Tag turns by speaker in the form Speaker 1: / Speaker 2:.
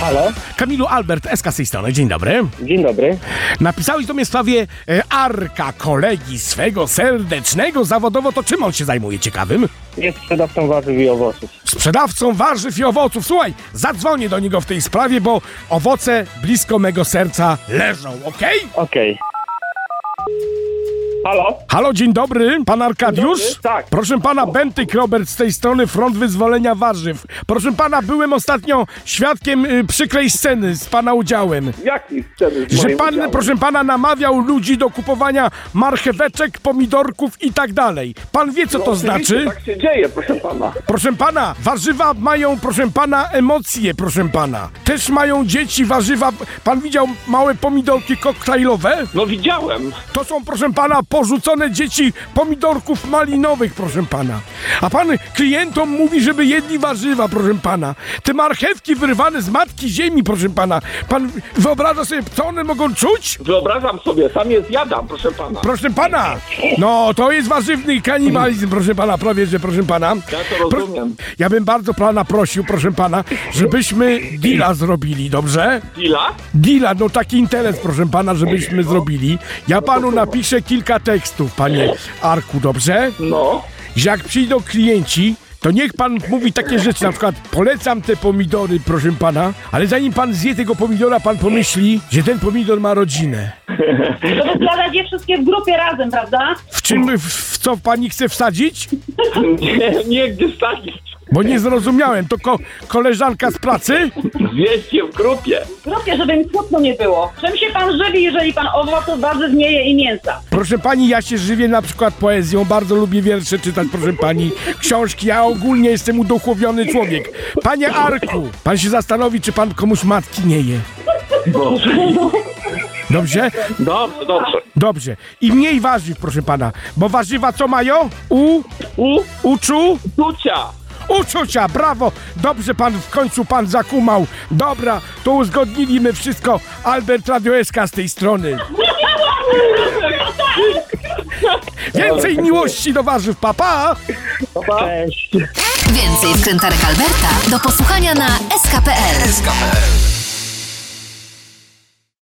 Speaker 1: Halo,
Speaker 2: Kamilu Albert, SK z tej strony, dzień dobry.
Speaker 1: dzień dobry.
Speaker 2: Napisałeś do mnie w sprawie e, Arka, kolegi swego serdecznego zawodowo, to czym on się zajmuje ciekawym?
Speaker 1: Jest sprzedawcą warzyw i owoców.
Speaker 2: Sprzedawcą warzyw i owoców. Słuchaj, zadzwonię do niego w tej sprawie, bo owoce blisko mego serca leżą, okej?
Speaker 1: Okej. Halo?
Speaker 2: Halo, dzień dobry, pan Arkadiusz?
Speaker 1: Dzień dobry, tak.
Speaker 2: Proszę pana, Bentyk Robert z tej strony Front Wyzwolenia Warzyw. Proszę pana, byłem ostatnio świadkiem y, przykrej sceny z pana udziałem.
Speaker 3: Jaki chcemy z
Speaker 2: Że
Speaker 3: moim
Speaker 2: pan,
Speaker 3: udziałem?
Speaker 2: proszę pana, namawiał ludzi do kupowania marcheweczek, pomidorków i tak dalej. Pan wie, co to
Speaker 3: Oczywiście,
Speaker 2: znaczy?
Speaker 3: Tak się dzieje, proszę pana.
Speaker 2: Proszę pana, warzywa mają, proszę pana, emocje, proszę pana. Też mają dzieci warzywa. Pan widział małe pomidorki koktajlowe?
Speaker 3: No widziałem.
Speaker 2: To są, proszę pana, porzucone dzieci pomidorków malinowych, proszę pana. A pan klientom mówi, żeby jedli warzywa, proszę pana. Te marchewki wyrwane z matki ziemi, proszę pana. Pan wyobraża sobie, co one mogą czuć?
Speaker 3: Wyobrażam sobie, sam je zjadam, proszę pana.
Speaker 2: Proszę pana! No, to jest warzywny kanibalizm, proszę pana, prawie, że proszę pana.
Speaker 3: Ja to rozumiem.
Speaker 2: Ja bym bardzo pana prosił, proszę pana, żebyśmy deala zrobili, dobrze?
Speaker 3: Ila?
Speaker 2: Deala, no taki interes, proszę pana, żebyśmy zrobili. Ja panu napiszę kilka tekstów, panie Arku, dobrze?
Speaker 3: No.
Speaker 2: Że jak przyjdą klienci, to niech pan mówi takie rzeczy, na przykład polecam te pomidory, proszę pana, ale zanim pan zje tego pomidora, pan pomyśli, że ten pomidor ma rodzinę.
Speaker 4: To wykładać je wszystkie w grupie razem, prawda?
Speaker 2: W czym, w, w co pani chce wsadzić?
Speaker 3: Nie, nie tak. gdzie stać.
Speaker 2: Bo nie zrozumiałem, to ko- koleżanka z pracy?
Speaker 3: Zjeść je w grupie.
Speaker 4: W grupie, żeby im smutno nie było. Czym się pan żywi, jeżeli pan owoców, warzyw nie je i mięsa?
Speaker 2: Proszę pani, ja się żywię na przykład poezją, bardzo lubię wiersze czytać, proszę pani, książki, ja ogólnie jestem uduchowiony człowiek. Panie Arku, pan się zastanowi, czy pan komuś matki nie je.
Speaker 3: Boże.
Speaker 2: Dobrze?
Speaker 3: Dobrze, dobrze.
Speaker 2: Dobrze. I mniej warzyw, proszę pana, bo warzywa co mają? U,
Speaker 3: U
Speaker 2: uczu,
Speaker 3: Ducia.
Speaker 2: uczucia, brawo! Dobrze pan, w końcu pan zakumał. Dobra, to uzgodniliśmy wszystko. Albert Radioeska z tej strony. Więcej miłości do warzyw, papa!
Speaker 1: Cześć.
Speaker 5: Więcej wkrętarek Alberta do posłuchania na skpl.
Speaker 6: SKPL.